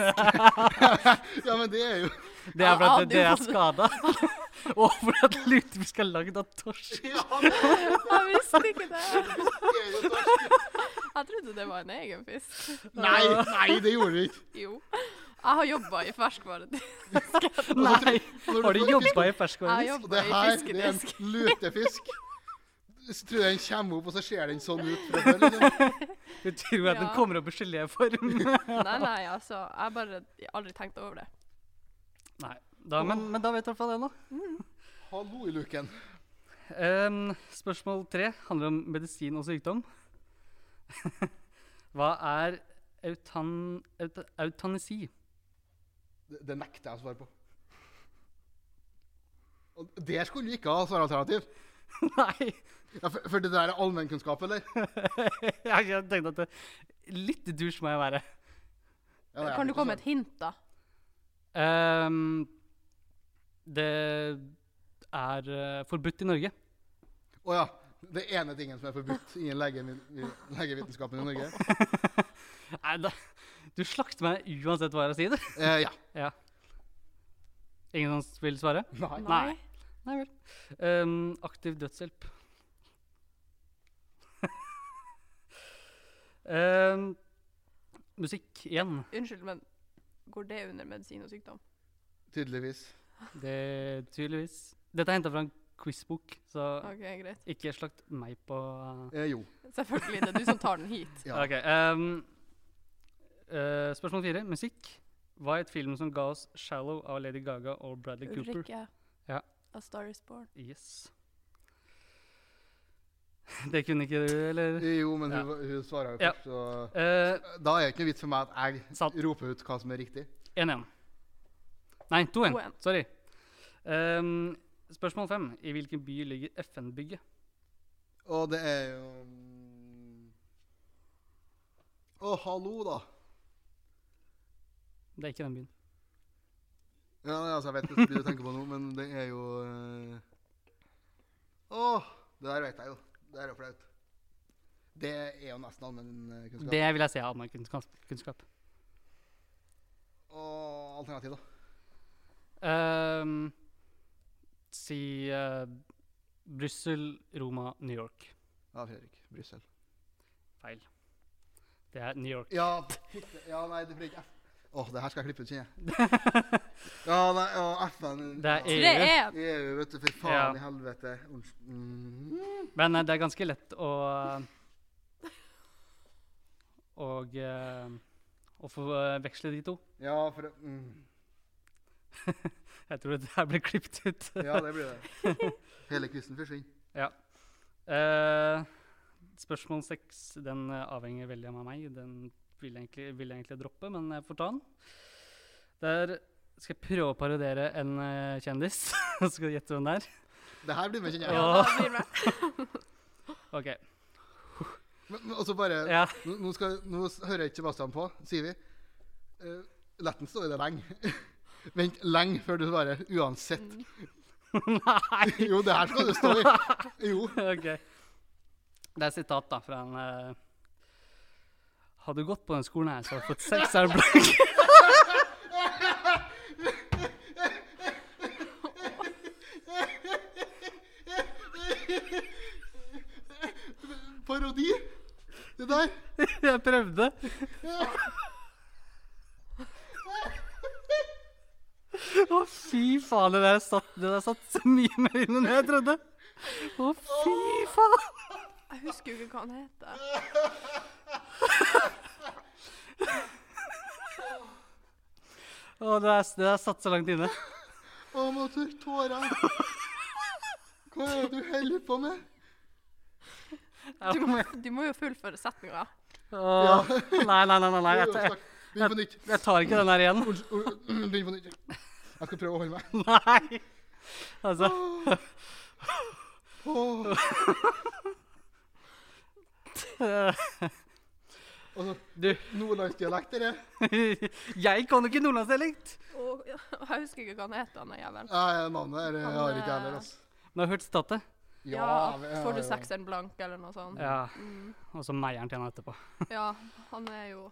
Speaker 2: Ja, men det er jo
Speaker 3: Det er
Speaker 1: Ja,
Speaker 3: fordi at dere er
Speaker 1: du-
Speaker 3: skada. Og fordi at lutefisk er lagd av torsk.
Speaker 2: Ja,
Speaker 1: Jeg visste ikke det.
Speaker 2: det er jo torsk.
Speaker 1: Jeg trodde det var en egen fisk.
Speaker 2: Nei, nei, det gjorde vi ikke.
Speaker 1: Jo. Jeg har jobba i ferskvare.
Speaker 3: Nei!
Speaker 2: Når
Speaker 3: Har du
Speaker 2: får fisk-
Speaker 3: jobba i
Speaker 1: Jeg
Speaker 3: ferskvarefisk?
Speaker 2: Og det
Speaker 1: jobba i
Speaker 2: her det er en
Speaker 1: fiskedisk.
Speaker 2: lutefisk. Så tror jeg den kommer opp, og så ser den sånn ut. fra før, liksom.
Speaker 3: Du tror at den
Speaker 1: Ja.
Speaker 3: kommer opp i geléform?
Speaker 1: Nei, nei, altså. Jeg bare jeg har aldri tenkt over det.
Speaker 3: Nei. Da, men, men da vet du i hvert fall det, da.
Speaker 2: Hallo i luken.
Speaker 3: Ehm, spørsmål tre handler om medisin og sykdom. Hva er eutan, euta, eutanasi?
Speaker 2: Det, det nekter jeg å svare på. Og der skulle du ikke ha svaralternativ.
Speaker 3: Nei.
Speaker 2: Ja, for, for det der er allmennkunnskap, eller?
Speaker 3: Jeg jeg tenkte at det, litt dusj må jeg være.
Speaker 2: Ja, det er
Speaker 1: Kan du
Speaker 2: ikke
Speaker 1: komme
Speaker 2: så-
Speaker 1: med et hint, da?
Speaker 3: Ehm, det er eh, forbudt i Norge.
Speaker 2: Å ja. Det ene tingen som er forbudt innen legevin- legevitenskapen i Norge.
Speaker 3: Nei, da, du slakter meg uansett hva jeg sier. du.
Speaker 2: Eh, ja.
Speaker 3: Ingen som vil svare?
Speaker 2: Nei.
Speaker 3: Nei. Nei vel. Ehm, aktiv dødshjelp. Ehm, musikk igjen.
Speaker 1: Unnskyld, men går det under medisin og sykdom?
Speaker 2: Tydeligvis.
Speaker 3: Det tydeligvis. Dette er henta fra en quizbok, så
Speaker 1: OK, greit.
Speaker 3: ikke slakt meg på eh,
Speaker 2: Eh, jo.
Speaker 1: Selvfølgelig. Det er du som tar den hit.
Speaker 2: Ja.
Speaker 3: Ok, ehm, eh, spørsmål fire. Musikk. Hva het filmen som ga oss 'Shallow' av Lady Gaga og Bradley Cooper?
Speaker 1: Ulrikke.
Speaker 3: Ja.
Speaker 1: A Star Is Born.
Speaker 3: Yes. Det kunne ikke du, eller?
Speaker 2: Eh, Jo, men
Speaker 3: Ja.
Speaker 2: hun, hun svarer jo
Speaker 3: Ja.
Speaker 2: først, så
Speaker 3: Eh,
Speaker 2: Da er det ikke noe vits for meg at jeg
Speaker 3: Sant.
Speaker 2: roper ut hva som er riktig.
Speaker 3: 1-1. Nei, 2-1.
Speaker 1: 2-1.
Speaker 3: Sorry. Ehm, spørsmål fem. I hvilken by ligger FN-bygget?
Speaker 2: Og det er jo mm, Å, hallo, da.
Speaker 3: Det er ikke den byen.
Speaker 2: Ja, nei, altså, jeg vet ikke hva du tenker på nå, men det er jo eh, Å, Det der vet jeg jo. Det er jo flaut. Det er jo nesten allmennkunnskap.
Speaker 3: Det vil jeg si er allmennkunnskap. kunnskap.
Speaker 2: Og alternativ, da.
Speaker 3: Ehm, si eh, Brussel, Roma, New York.
Speaker 2: Ja, Fredrik. Brussel.
Speaker 3: Feil. Det er New York.
Speaker 2: Ja, fitte. ja nei, det blir ikke F. Åh, det her skal jeg klippe ut, kjenner jeg. Ja, nei, å, FN
Speaker 3: Det er
Speaker 2: ja.
Speaker 3: EU.
Speaker 1: Tre E! er
Speaker 2: EU, vet du. For faen
Speaker 3: Ja.
Speaker 2: i helvete. Unns- Mm.
Speaker 3: Men eh, det er ganske lett å Og eh, å forveksle de to.
Speaker 2: Ja, for mm.
Speaker 3: Jeg tror det her blir klippet ut.
Speaker 2: Ja, det blir det. Hele quizen forsvinner.
Speaker 3: Eh, spørsmål seks den eh, avhenger veldig av meg. Den vil jeg egentlig, vil jeg egentlig droppe, men jeg får ta den. Der skal jeg prøve å parodiere en eh, kjendis. Så skal du gjette hvem det er.
Speaker 2: Det her blir med, kjenner jeg.
Speaker 3: Ja.
Speaker 1: Ja, da blir det.
Speaker 3: Ok,
Speaker 2: Men, men, og så bare
Speaker 3: ja.
Speaker 2: Nå, nå, skal, nå s- hører ikke Sebastian på, sier vi. Uh, Letten står i det lenge. Vent lenge før du svarer, uansett.
Speaker 3: Mm. Nei!
Speaker 2: Jo, det her skal du stå i. Jo.
Speaker 3: Ok. Det er sitat da, fra en eh, Har du gått på den skolen her, så har du fått seks av blokk.
Speaker 2: Parodi. Det der.
Speaker 3: Jeg prøvde. Å, fy faen. Det der satt, det der satt så mye mer inne enn jeg trodde. Å, fy faen.
Speaker 1: Jeg husker jo ikke hva han heter.
Speaker 3: Å, det der, det der satt så langt inne.
Speaker 2: Å, motor, tårer. Hva er det du holder på med?
Speaker 1: Du må, du må jo fullføre setninga.
Speaker 3: Å, Nei, nei, nei. nei, nei. Jeg, tar- jeg,
Speaker 2: Begynn på nytt.
Speaker 3: jeg tar ikke den der igjen.
Speaker 2: Begynn på nytt. Jeg skal prøve å holde meg.
Speaker 3: Nei. Altså,
Speaker 2: Åh.
Speaker 3: eh,
Speaker 2: Altså,
Speaker 3: du
Speaker 2: Nordlandsdialekt, dere.
Speaker 3: Jeg kan jo ikke nordlandsdialekt.
Speaker 1: Og, ja, jeg husker ikke hva han heter, han jævelen.
Speaker 2: Nei, navnet er, jeg har ikke heller, altså.
Speaker 3: Men jeg har hørt sitatet.
Speaker 1: Ja,
Speaker 2: jeg har
Speaker 1: får du
Speaker 2: jo-
Speaker 1: sekseren blank, eller noe sånt.
Speaker 3: Ja.
Speaker 1: Mm.
Speaker 3: Og så meieren til henne etterpå.
Speaker 1: ja han er jo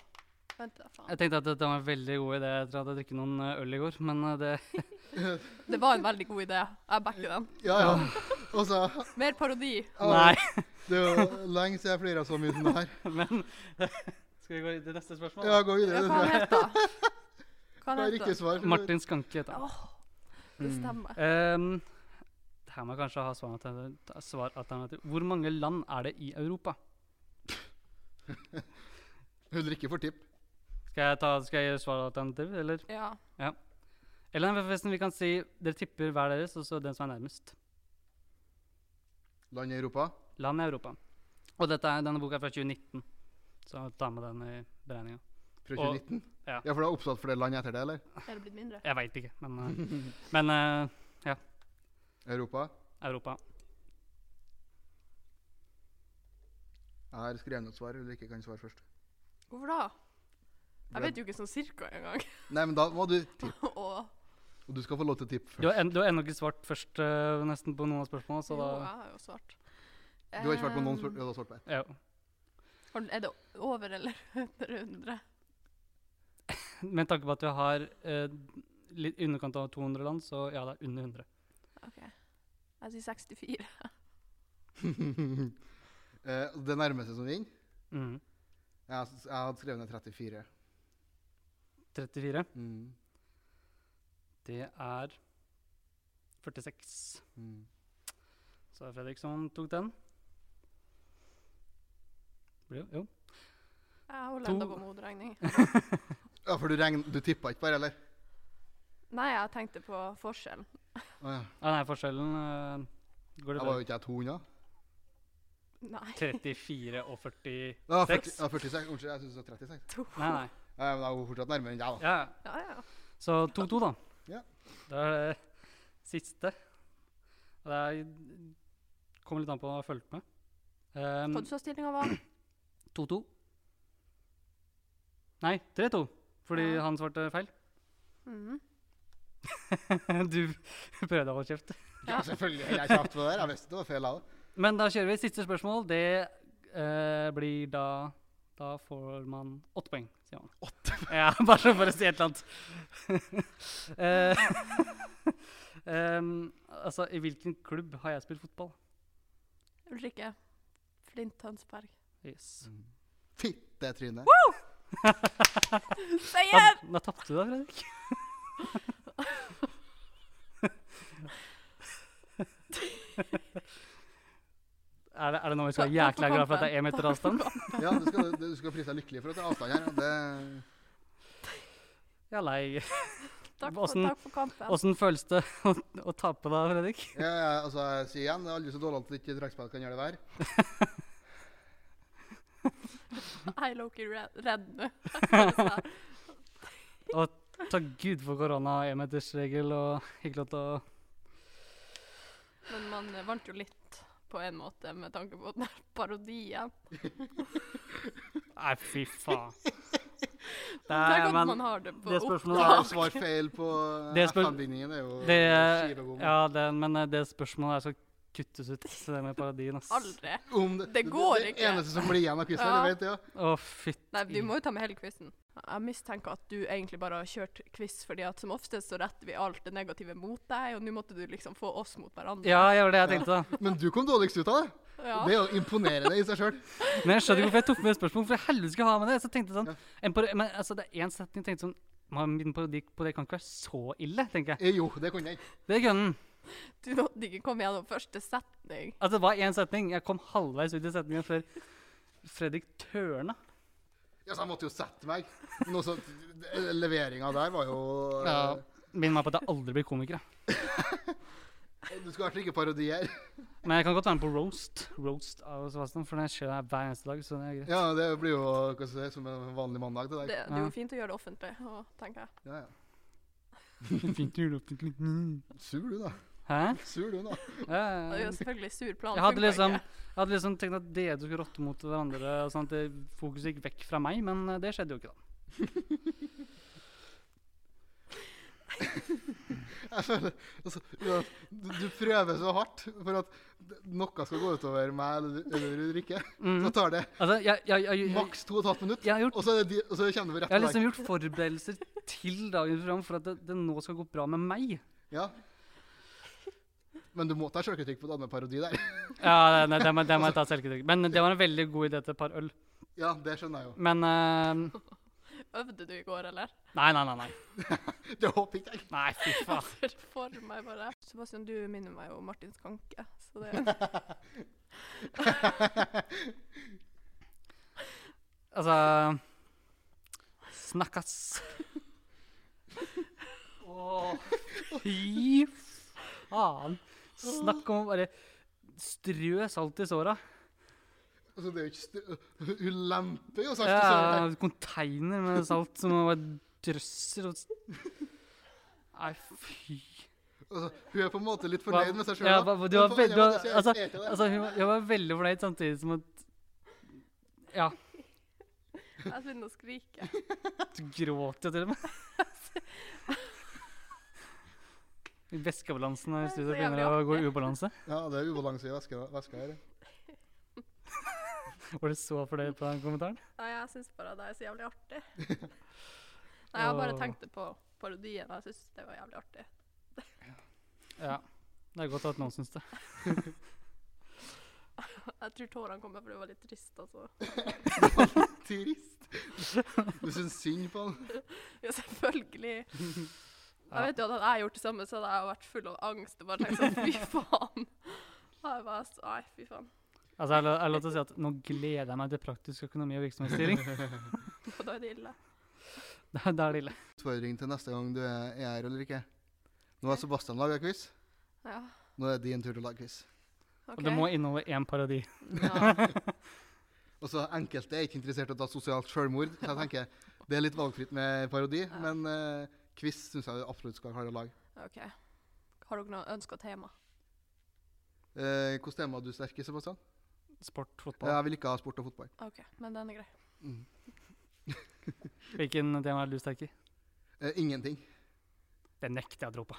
Speaker 1: Vent, da, faen.
Speaker 3: Jeg tenkte at dette var en veldig god idé etter at jeg drukket noen eh, øl i går, men eh, det
Speaker 1: Det var en veldig god idé. Jeg backer den.
Speaker 2: Ja, ja. Og så
Speaker 1: Mer parodi.
Speaker 2: ja,
Speaker 3: Nei.
Speaker 2: Det er jo lenge siden jeg flira så mye som det her.
Speaker 3: Men Skal vi gå til neste spørsmål?
Speaker 2: Ja, gå
Speaker 1: Ja, hva
Speaker 2: videre. du tror
Speaker 1: han
Speaker 2: jeg.
Speaker 1: heter han? Hva
Speaker 2: Jeg
Speaker 1: han
Speaker 2: har ikke Mm.
Speaker 1: heter
Speaker 2: svar.
Speaker 3: Martin Skanke heter han.
Speaker 1: Åh, Det stemmer.
Speaker 3: Ehm, det her må jeg kanskje ha svaralternativ. svaralternativ. Hvor mange land er det i Europa?
Speaker 2: Ulrikke får tipp.
Speaker 3: Skal jeg, ta, skal jeg gjøre svaralternativ, eller?
Speaker 1: Ja.
Speaker 3: Eller nei, forresten, vi kan si dere tipper hver deres, og så den som er nærmest.
Speaker 2: Land i Europa.
Speaker 3: Land i Europa. Og dette er, denne boka er fra 2019, så ta med den i beregninga.
Speaker 2: Fra
Speaker 3: Og-
Speaker 2: 2019.
Speaker 3: ja.
Speaker 2: ja, for det er oppsatt for det land etter det, eller?
Speaker 1: Er det blitt mindre?
Speaker 3: Jeg veit ikke, men, eh, men eh,
Speaker 2: Europa.
Speaker 3: Europa.
Speaker 2: Jeg har skrevet noe svar. Ulrikke kan svare først.
Speaker 1: Hvorfor da? Jeg vet jo ikke sånn cirka engang.
Speaker 2: Nei, men da må du tippe.
Speaker 1: Og
Speaker 2: Og du skal få lov til å tippe først.
Speaker 3: Du har, en, du har ennå ikke svart først eh, nesten på noen av spørsmålene, så
Speaker 1: jo,
Speaker 3: da
Speaker 1: jeg har jo svart.
Speaker 2: Altså, Du har ikke svart på noen spør-
Speaker 1: Ehm,
Speaker 2: du har svart på ett.
Speaker 3: ja.
Speaker 1: har den- Er det over eller under 100?
Speaker 3: Med tanke på at vi har eh, litt underkant av 200 land, så ja, det er under 100.
Speaker 1: OK. Jeg sier 64.
Speaker 2: Eh, Det nærmeste som vinner
Speaker 3: Mm.
Speaker 2: Jeg har- jeg hadde skrevet ned 34.
Speaker 3: 34.
Speaker 2: Mm.
Speaker 3: Det er 46.
Speaker 2: Mm.
Speaker 3: Så er det Fredrik som tok den. Jo,
Speaker 1: Jeg
Speaker 3: jo.
Speaker 1: holder
Speaker 3: To.
Speaker 1: enda på med hoderegning.
Speaker 2: Ja, for du, regn- du tippa ikke bare, eller?
Speaker 1: Nei, jeg tenkte på forskjellen.
Speaker 2: Å ja.
Speaker 3: Ah, nei, forskjellen eh, Går
Speaker 2: Jeg
Speaker 3: det
Speaker 2: var jo
Speaker 3: fra
Speaker 2: ikke jeg 200?
Speaker 1: Nei.
Speaker 3: 34 og 40
Speaker 2: Ja, 40,
Speaker 3: Seks.
Speaker 2: ja 46. Unnskyld, jeg syns det var 36.
Speaker 3: Nei, nei.
Speaker 2: Ja, men jeg er jo fortsatt nærmere enn deg, da.
Speaker 3: Ja, ja.
Speaker 1: Ja, ja.
Speaker 3: Så 2-2, da.
Speaker 2: Ja.
Speaker 3: Da er det siste. Og det er, kommer litt an på hva jeg har fulgt med. Ehm,
Speaker 1: Hva du sa stillinga var?
Speaker 3: 2-2. Nei, 3-2, fordi
Speaker 1: Ja.
Speaker 3: han svarte feil.
Speaker 1: Mhm.
Speaker 3: du prøvde å holde kjeft.
Speaker 2: Ja, selvfølgelig. Jeg kjapt på det der. Jeg visste det var feil, jeg òg.
Speaker 3: Men da kjører vi. Siste spørsmål. Det eh, blir da Da får man åtte poeng, sier man. Åtte? Ja, bare så for å si et eller annet. Eh, em, altså, i hvilken klubb har jeg spilt fotball?
Speaker 1: Ulrikke. Flint Tønsberg.
Speaker 3: Yes.
Speaker 2: Fittetryne.
Speaker 1: Seier!
Speaker 3: Ja, da tapte du da, Fredrik. er, det, er det noe vi skal være
Speaker 1: Ta- ta
Speaker 3: jækla glad for
Speaker 1: kampen.
Speaker 3: at det er én meter avstand?
Speaker 2: Ja, du skal, du skal prise deg lykkelig for at det er avstand her. Det,
Speaker 3: Ja, nei.
Speaker 1: Takk for,
Speaker 3: Åssen-
Speaker 1: takk for kampen.
Speaker 3: Åssen føles det å, å tape da, Fredrik?
Speaker 2: ja, ja, altså, jeg sier igjen, det er aldri så dårlig at ikke trekkspill kan gjøre det hver.
Speaker 1: Jeg er Loki redd redd nå. Jeg føler det.
Speaker 3: Takk Gud for korona og énmetersregel og ikke lov til å
Speaker 1: Men man eh, vant jo litt på en måte, med tanke på den her parodien.
Speaker 3: Nei, fy faen.
Speaker 1: Tenk
Speaker 3: Nei,
Speaker 1: at
Speaker 3: men
Speaker 1: man har det på
Speaker 3: det
Speaker 1: opp.
Speaker 3: spørsmålet
Speaker 2: Svar,
Speaker 3: er
Speaker 2: svar feil på eh,
Speaker 3: Det spør-
Speaker 2: FN-bygningen er jo
Speaker 3: det,
Speaker 2: skivebom.
Speaker 3: ja, det, men eh, det spørsmålet her skal kuttes ut, så det med paradien, ass.
Speaker 1: Aldri.
Speaker 2: Om
Speaker 1: Det går
Speaker 2: Det
Speaker 1: ikke.
Speaker 2: eneste som blir igjen av quizen,
Speaker 1: Ja.
Speaker 2: jeg vet det, ja.
Speaker 3: Å, fytti
Speaker 1: Nei, vi må jo ta med hele quizen. Jeg mistenker at du egentlig bare har kjørt quiz, fordi at som oftest så retter vi alt det negative mot deg, og nå måtte du liksom få oss mot hverandre.
Speaker 3: Ja, jeg var det jeg tenkte, da.
Speaker 2: Men du kom dårligst ut av det.
Speaker 1: Ja.
Speaker 2: Det er jo imponerende i seg sjøl.
Speaker 3: Men jeg skjønner ikke hvorfor jeg tok med det spørsmålet. Hvorfor i helvete skulle jeg ha med det? Så tenkte jeg sånn en par, Men altså, det er én setning jeg tenkte sånn «Man, Min parodi på det kan ikke være så ille, tenker jeg.
Speaker 2: Eh, Jo, det kunne jeg.
Speaker 3: Det er grunnen.
Speaker 1: Du nådde ikke komme gjennom første setning.
Speaker 3: At Altså, det var én setning. Jeg kom halvveis ut i setningen før Fredrik tørna.
Speaker 2: Ja, så jeg måtte jo sette meg. Noe så, leveringa der var jo eh,
Speaker 3: Ja. Minn meg på at jeg aldri blir komiker. jeg.
Speaker 2: Du skulle vært like parodi her.
Speaker 3: Men jeg kan godt være med på roast. Roast av Sebastian, for det skjer her hver eneste dag. så det er greit.
Speaker 2: Ja, det blir jo hva skal jeg si, som en vanlig mandag. det
Speaker 1: Det,
Speaker 2: der.
Speaker 1: det er
Speaker 3: Ja.
Speaker 1: jo fint å gjøre det offentlig, og- tenker jeg.
Speaker 2: Ja, ja.
Speaker 3: Fint juleoppbygging. Mm.
Speaker 2: Sur du, da.
Speaker 3: Hæ?
Speaker 2: Sur du, da.
Speaker 3: Ja,
Speaker 1: Det er
Speaker 3: ja,
Speaker 1: jo
Speaker 3: ja.
Speaker 1: selvfølgelig sur plan.
Speaker 3: Jeg hadde
Speaker 1: funker
Speaker 3: liksom,
Speaker 1: ikke.
Speaker 3: jeg hadde liksom tenkt at dere skulle rotte mot hverandre, og sånn at det- fokuset gikk vekk fra meg, men eh, det skjedde jo ikke, da.
Speaker 2: Jeg føler, altså, ja, du, du prøver så hardt for at d- noe skal gå utover meg eller eller Ulrikke. Så
Speaker 3: Mm.
Speaker 2: tar det
Speaker 3: Altså, jeg, jeg, jeg, jeg, jeg,
Speaker 2: maks to og et halvt minutt,
Speaker 3: jeg har gjort
Speaker 2: og så, er det de, og så kommer vi rett
Speaker 3: Jeg har
Speaker 2: til
Speaker 3: liksom
Speaker 2: deg.
Speaker 3: gjort forberedelser til dagens program for at det, det nå skal gå bra med meg.
Speaker 2: Ja. Men du må ta sjølkritikk på den andre parodi der.
Speaker 3: Ja, nei, det, må, det må jeg ta selvkritikk. Men det var en veldig god idé til et par øl.
Speaker 2: Ja, det skjønner jeg jo.
Speaker 3: Men eh,
Speaker 1: Øvde du i går, eller?
Speaker 3: Nei, nei, nei. Nei,
Speaker 2: Det håper ikke jeg.
Speaker 3: nei fy faen.
Speaker 1: For meg bare. Sebastian, du minner meg jo om Martin Skanke, så det
Speaker 3: Altså Snakkas. Åh, fy faen. Snakk om å bare strø salt i såra.
Speaker 2: Altså, det er jo ikke stu- Hun lemper jo sagt
Speaker 3: Ja,
Speaker 2: ja.
Speaker 3: konteiner med salt som man bare drøsser og s- Nei, fy
Speaker 2: altså, Hun er på en måte litt
Speaker 3: Hva-
Speaker 2: fornøyd med seg sjøl.
Speaker 3: Ja, hva- du var veld- du var- altså, altså, hun var- jeg var veldig fornøyd samtidig som at Ja,
Speaker 1: Jeg begynner å skrike.
Speaker 3: du gråt jo til og med. Væskebalansen her i studio
Speaker 1: Så jævlig
Speaker 3: begynner å gå i ubalanse.
Speaker 2: Ja, det er ubalanse i veska, veska her.
Speaker 3: Var du så fornøyd på den kommentaren?
Speaker 1: Nei, jeg syns bare det er så jævlig artig. Nei, jeg bare
Speaker 3: Åh.
Speaker 1: tenkte på parodien, og jeg syns det var jævlig artig.
Speaker 3: Ja. Det er godt at noen syns det.
Speaker 1: Jeg tror tårene kommer fordi det var litt trist, altså.
Speaker 2: Trist. Du syns synd på han.
Speaker 1: Ja, selvfølgelig.
Speaker 3: Ja.
Speaker 1: Jeg vet jo at hadde jeg gjort det samme, så hadde jeg jo vært full av angst og bare tenkt sånn, fy faen. Da er Jeg bare, så- nei, fy faen.
Speaker 3: Altså, jeg har lov til å si at nå gleder jeg meg til praktisk økonomi og virksomhetsstyring.
Speaker 1: Og da er det ille.
Speaker 3: Da da er det ille.
Speaker 2: Utfordring til neste gang du er er her, eller ikke? Nå har Sebastian laga quiz.
Speaker 1: Ja,
Speaker 2: Nå er det din tur til å lage quiz.
Speaker 1: ok.
Speaker 3: Og det må inneholde én parodi.
Speaker 1: Ja.
Speaker 2: Og så Enkelte er ikke interessert i å ta sosialt selvmord, så jeg tenker det er litt valgfritt med parodi. Men eh, quiz syns jeg du absolutt skal klare å lage.
Speaker 1: Ok. Har dere noe ønska tema?
Speaker 2: Uh, Hvilket tema er du sterk i, Sebastian?
Speaker 3: Sport,
Speaker 2: Eh,
Speaker 3: fotball.
Speaker 2: jeg vil ikke ha sport og fotball.
Speaker 1: Ok, men den er grei.
Speaker 2: Mm.
Speaker 3: Hvilken tema er du sterk i?
Speaker 2: Eh, ingenting.
Speaker 3: Det nekter jeg å tro på.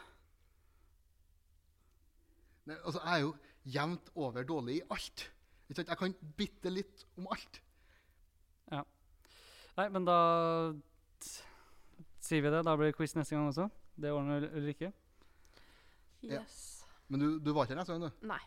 Speaker 2: Nei, altså, jeg er jo jevnt over dårlig i alt. Ikke sant? Jeg kan bitte litt om alt.
Speaker 3: Nei, men da t- sier vi det. Da blir det quiz neste gang også. Det ordner Ul- Ulrikke.
Speaker 2: Ja.
Speaker 1: Yes.
Speaker 2: Men du, du var ikke her neste gang, du?
Speaker 1: Nei.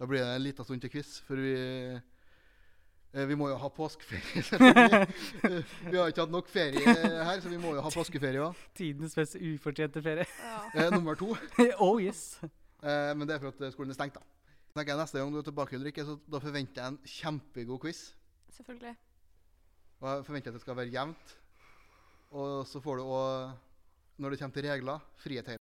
Speaker 2: Da blir det en liten stund til quiz, for vi eh, vi må jo ha påskeferie. selvfølgelig. Eh, vi har ikke hatt nok ferie her, så vi må jo ha påskeferie òg.
Speaker 3: Tidenes mest ufortjente ferie.
Speaker 1: Ja.
Speaker 2: Eh, nummer to.
Speaker 3: oh yes!
Speaker 2: Eh, men det er for at eh, skolen er stengt, da. Så tenker jeg Neste gang du er tilbake, Ulrikke, så da forventer jeg en kjempegod quiz.
Speaker 1: Selvfølgelig.
Speaker 2: Og jeg forventer at det skal være jevnt. Og så får du òg, når det kommer til regler, frihet